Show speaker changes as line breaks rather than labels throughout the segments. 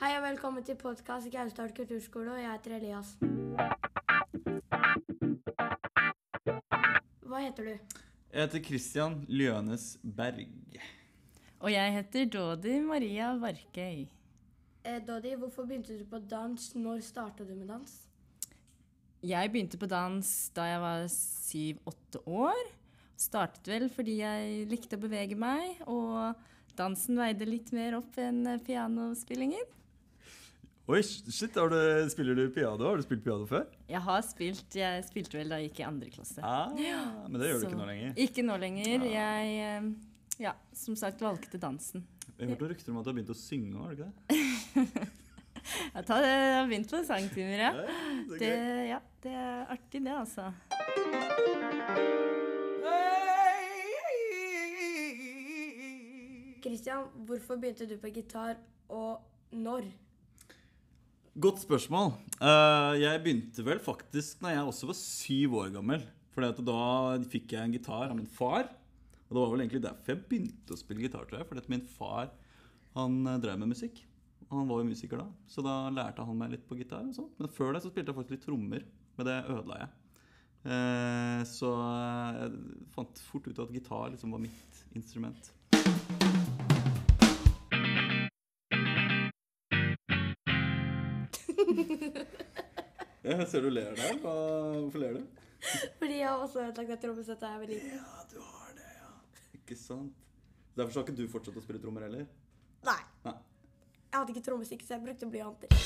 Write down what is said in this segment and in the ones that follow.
Velkommen til podkast Gausdal kulturskole, og jeg heter Elias. Hva heter du?
Jeg heter Christian Ljønes Berg.
Og jeg heter Dodi Maria Varkøy.
Eh, Dodi, hvorfor begynte du på dans? Når starta du med dans?
Jeg begynte på dans da jeg var syv-åtte år. Startet vel fordi jeg likte å bevege meg, og dansen veide litt mer opp enn eh, pianospillingen.
Oi, shit, har du, spiller du piano? Har du spilt piano før?
Jeg har spilt, jeg spilte vel da jeg gikk i andre klasse.
Ah, men det gjør du
Så-
ikke nå lenger.
Ikke nå lenger. Jeg, eh, ja, som sagt, valgte dansen.
Jeg hørte rykter om at du har begynt å synge, har du ikke det?
Jeg tar- jeg har begynt på sangtimer, ja.
Ja,
Det, ja, det er artig, det, altså.
Christian, hvorfor begynte du på gitar, og når?
Godt spørsmål. Eh, jeg begynte vel faktisk når jeg også var syv år gammel. For da fikk jeg en gitar av min far. Og det var vel egentlig derfor jeg begynte å spille gitar, tror jeg. Fordi at min far han eh, drev med musikk. Og han var jo musiker da, så da lærte han meg litt på gitar. og sånt. Men før det så spilte jeg faktisk litt trommer, men det ødela jeg. Eh, så jeg fant fort ut at gitar liksom var mitt instrument. Jeg ser du ler der. Hvorfor ler du?
Fordi jeg har også ødelagt et trommesett da jeg var liten.
Ja, du har det, ja. Ikke sant? Derfor så har ikke du fortsatt å spille trommer heller?
Nei.
Nei.
Jeg hadde ikke trommestikk, så jeg brukte blyanter.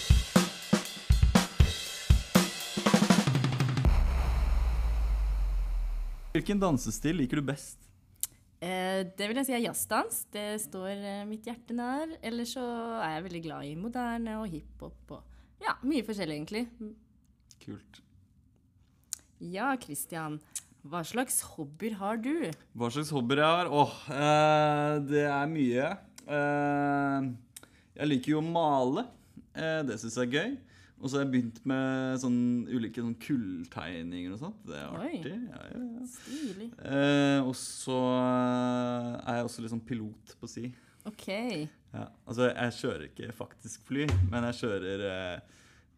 Hvilken dansestil liker du best?
Eh, det vil jeg si er jazzdans. Det står eh, mitt hjerte nær. Eller så er jeg veldig glad i moderne og hiphop og ja, mye forskjellig, egentlig.
Kult.
Ja, Christian. Hva slags hobbyer har du?
Hva slags hobbyer jeg har? Åh, eh, det er mye. Eh, jeg liker jo å male. Eh, det syns jeg er gøy. Og så har jeg begynt med sånn ulike sånn kulltegninger og sånt. Det er
Oi.
artig. Ja, ja, ja.
Stilig.
Eh, og så eh, er jeg også litt sånn pilot på si.
OK.
Ja, altså jeg kjører ikke faktisk fly, men jeg kjører eh,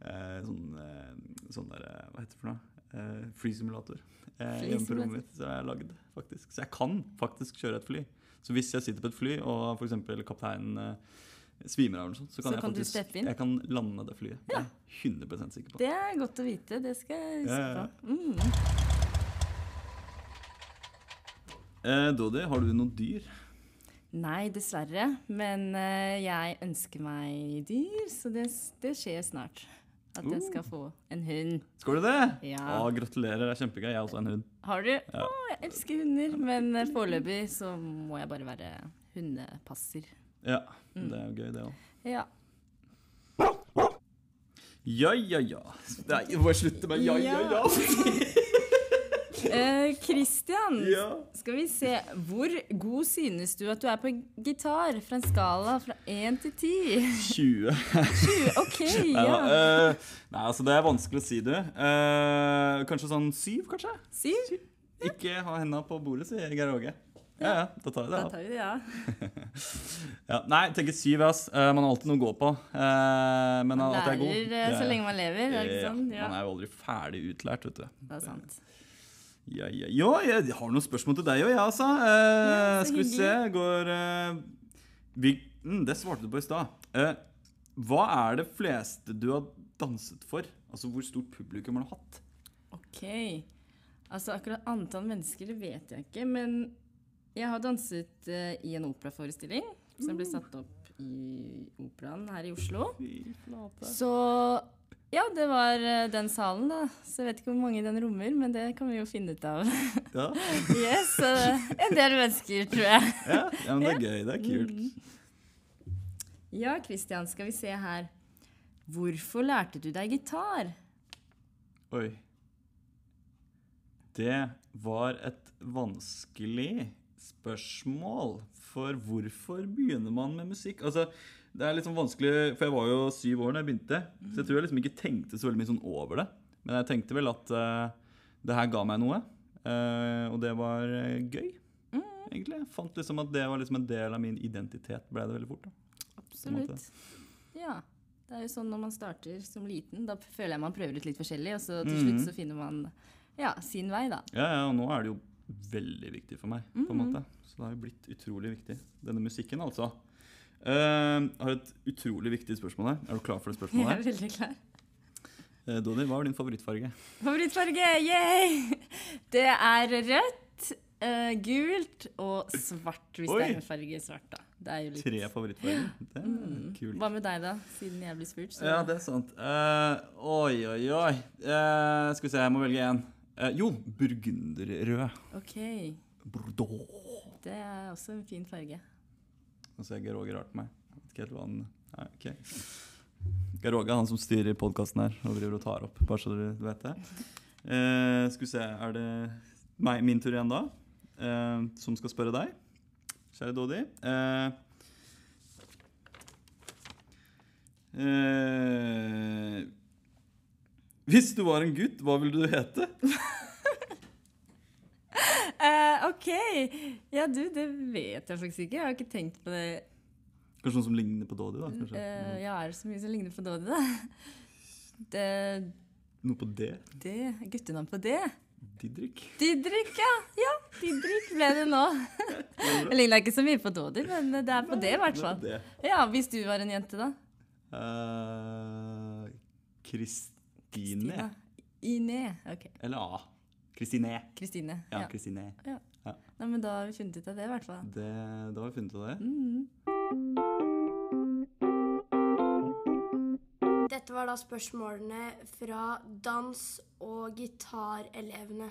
eh, sånn, eh, sånn der, eh, hva heter det for noe? Eh, flysimulator. Eh, hjemme på
Flysimulator.
rommet mitt, så jeg har lagd faktisk. Så jeg kan faktisk kjøre et fly. Så hvis jeg sitter på et fly, og for eksempel kapteinen eh, svimer av eller noe sånt, så kan,
Så
jeg
kan du
faktisk,
steppe inn?
Jeg kan lande det flyet. Det er jeg 100 sikker på.
Det er godt å vite. Det skal jeg huske
Ja, ja, ja.
på. Mm.
Eh, Dodi, har du noen dyr?
Nei, dessverre. Men eh, jeg ønsker meg dyr, så det, det skjer snart. At jeg
Uh.
skal få en hund.
Skal du det?
Ja.
Å, gratulerer, det er kjempegøy. Jeg har også en hund.
Har du? Å, jeg elsker hunder, men eh, foreløpig så må jeg bare være hundepasser.
Ja,
Mm.
det er jo gøy det også.
Ja.
Ja, ja, ja. Nei, jeg må slutte med ja, ja, ja.
Eh, Christian,
ja.
skal vi se. Hvor god synes du at du er på gitar fra en skala fra 1 til 10?
20.
OK,
Nei, da,
ja.
eh, nei, altså det er vanskelig å si, du. Eh, kanskje sånn syv, kanskje?
Syv?
Ikke ha henda på bordet, sier Geir Åge. Ja, ja, da tar jeg det.
Da
av.
tar vi det, ja.
Ja, nei, jeg tenker syv, ass. Eh, man har alltid noe å gå på. Eh, men at jeg er god
Lærer eh,
det-
så lenge man lever, er det ikke
Ja,
sånn? Ja,
Man er jo aldri ferdig utlært, vet du.
det er sant.
Ja, ja. Jo, jeg har noen spørsmål til deg òg, jeg, altså. Eh,
så
skal vi se Går eh, vi, mm, Det svarte du på i stad. Eh, hva er det fleste du har danset for? Altså hvor stort publikum har du hatt?
OK. Altså akkurat antall mennesker, det vet jeg ikke, men jeg har danset eh, i en operaforestilling som
Mm.
ble satt opp i operaen her i Oslo. Så ja, det var eh, den salen, da. Så jeg vet ikke hvor mange den rommer, men det kan vi jo finne ut av.
Ja.
yes, eh, En del mennesker, tror jeg.
Ja, ja, men det er gøy. Det er kult.
Ja, Christian, skal vi se her. Hvorfor lærte du deg gitar?
Oi. Det var et vanskelig spørsmål. For hvorfor begynner man med musikk? Altså, det er litt sånn vanskelig, for jeg var jo syv år da jeg begynte. Så jeg tror jeg liksom ikke tenkte så veldig mye sånn over det. Men jeg tenkte vel at eh, det her ga meg noe. eh, og det var eh, gøy, egentlig. Jeg fant liksom at det var liksom en del av min identitet, ble det veldig fort. da.
Absolutt. Ja. Det er jo sånn når man starter som liten, da føler jeg man prøver ut litt forskjellig, og så til slutt så finner man ja, sin vei, da.
Ja, ja, og nå er det jo veldig viktig for meg, på en måte. Så det har jo blitt utrolig viktig. Denne musikken, altså. Eh, jeg har et utrolig viktig spørsmål her. Er du klar for det
Jeg
spørsmålet?
er veldig klar.
her? Eh, Dodi, hva er din favorittfarge?
Favorittfarge, yay! Det er rødt, eh, gult og svart, hvis det
Oi!
er en farge svart, da. Det er jo litt Mm.
Tre favorittfarger. Det er kult.
Hva med deg, da? Siden jeg ble spurt, så
Ja, det er sant. Eh, oi, oi, oi. Eh, skal vi se, jeg må velge én. jo, burgunderrød.
OK.
Bordeaux.
Det er også en fin farge.
Nå ser jeg George rart på meg. Jeg Vet ikke helt hva han Nei, ok. George er han som styrer podkasten her og driver og tar opp, bare så dere vet det. Eh, skal vi se, er det meg, min tur igjen da? Eh, som skal spørre deg, kjære Dodi. Eh, eh, hvis du var en gutt, hva ville du hete?
Eh, OK! Ja, du, det vet jeg faktisk ikke. Jeg har ikke tenkt på det.
Kanskje noen som ligner på Dodi? da? Kanskje?
Eh, ja, er det så mye som ligner på Dodi, da? Det,
Noe på D?
det Guttenavn på det?
Didrik?
Didrik, ja. ja. Didrik ble det nå. Jeg ligner ikke så mye på Dodi, men det er på det, i hvert
Noe på
fall.
D.
Ja, hvis du var en jente, da?
Eh, Kristine.
Ine. OK.
Eller A. Kristine.
Kristine.
Ja,
Ja.
Kristine.
Nei, men da har vi funnet ut av det, i hvert fall.
Det, da har vi funnet ut av det.
Dette var da spørsmålene fra dans- og gitarelevene.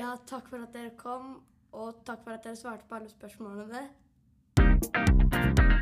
Ja, takk for at dere kom, og takk for at dere svarte på alle spørsmålene.